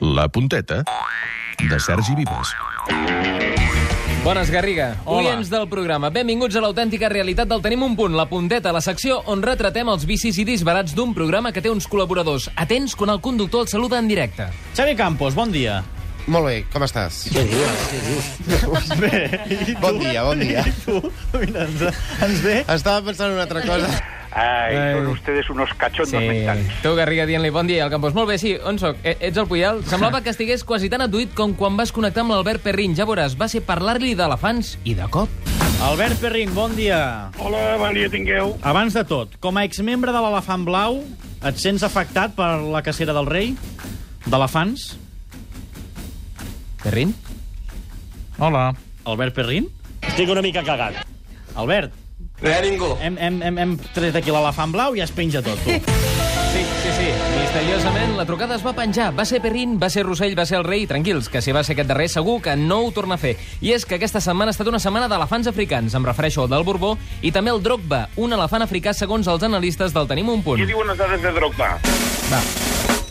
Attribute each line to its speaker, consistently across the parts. Speaker 1: La punteta de Sergi Vives.
Speaker 2: Bones, Garriga.
Speaker 3: Hola.
Speaker 2: Oients del programa, benvinguts a l'autèntica realitat del Tenim un punt, la punteta, la secció on retratem els vicis i disbarats d'un programa que té uns col·laboradors atents quan el conductor el saluda en directe.
Speaker 3: Xavi Campos, bon dia.
Speaker 4: Molt bé, com estàs?
Speaker 3: Bé, i tu?
Speaker 4: Bon dia, bon dia.
Speaker 3: I tu? Mira, ens, ens ve...
Speaker 4: Estava pensant en una altra cosa.
Speaker 5: Ay,
Speaker 2: Ay.
Speaker 5: son ustedes unos cachondos mentales.
Speaker 2: Tu, Garriga, dient-li bon dia al Campos. Molt bé, sí, on soc? E Ets el Puyal? Semblava que estigués quasi tan atuït com quan vas connectar amb l'Albert Perrin. Ja veuràs, va ser parlar-li d'elefants i de cop.
Speaker 3: Albert Perrin, bon dia.
Speaker 5: Hola, bon dia tingueu.
Speaker 3: Abans de tot, com a exmembre de l'Elefant Blau, et sents afectat per la cacera del rei? D'elefants?
Speaker 2: Perrin?
Speaker 6: Hola.
Speaker 3: Albert Perrin?
Speaker 7: Estic una mica cagat.
Speaker 3: Albert,
Speaker 8: ningú.
Speaker 3: hem, hem, hem, hem tret aquí l'Elefant Blau i es penja tot, tu.
Speaker 2: Sí, sí, sí. Misteriosament, la trucada es va penjar. Va ser Perrin, va ser Rossell, va ser el rei. Tranquils, que si va ser aquest darrer, segur que no ho torna a fer. I és que aquesta setmana ha estat una setmana d'elefants africans. Em refereixo al del Borbó i també el Drogba, un elefant africà segons els analistes del Tenim un punt.
Speaker 5: Què diuen les dades de Drogba?
Speaker 2: Va.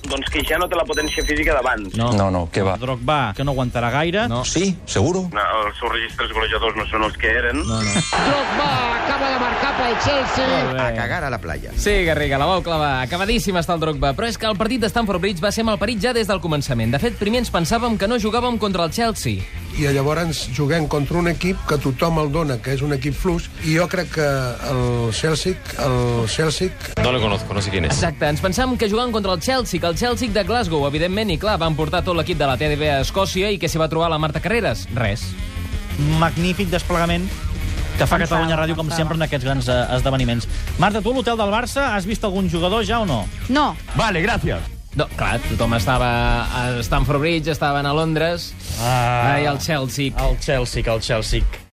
Speaker 5: Doncs que ja no té la potència física d'abans. No.
Speaker 8: No, no, què va?
Speaker 3: Drogba, que no aguantarà gaire.
Speaker 2: No.
Speaker 8: Sí, seguro?
Speaker 5: no. Els seus registres golejadors no són els que eren. No, no.
Speaker 4: A cagar a la playa.
Speaker 2: Sí, Garriga, la vau clavar. Acabadíssim està el Drogba. Però és que el partit de Stamford Bridge va ser malparit ja des del començament. De fet, primer ens pensàvem que no jugàvem contra el Chelsea.
Speaker 9: i llavors juguem contra un equip que tothom el dona, que és un equip fluix, i jo crec que el Celtic, el Celtic
Speaker 2: Exacte, ens pensàvem que jugant contra el Chelsea, que el Chelsea de Glasgow, evidentment, i clar, van portar tot l'equip de la TDB a Escòcia i que s'hi va trobar la Marta Carreras. Res.
Speaker 3: Magnífic desplegament que fa Catalunya Ràdio, com sempre, en aquests grans eh, esdeveniments. Marta, tu a l'hotel del Barça has vist algun jugador ja o no?
Speaker 10: No,
Speaker 6: Vale, gracias.
Speaker 2: No, clar, tothom estava a Stamford Bridge, estaven a Londres,
Speaker 3: Ah.
Speaker 2: ah, i el Chelsea.
Speaker 3: El Chelsea, que el Chelsea.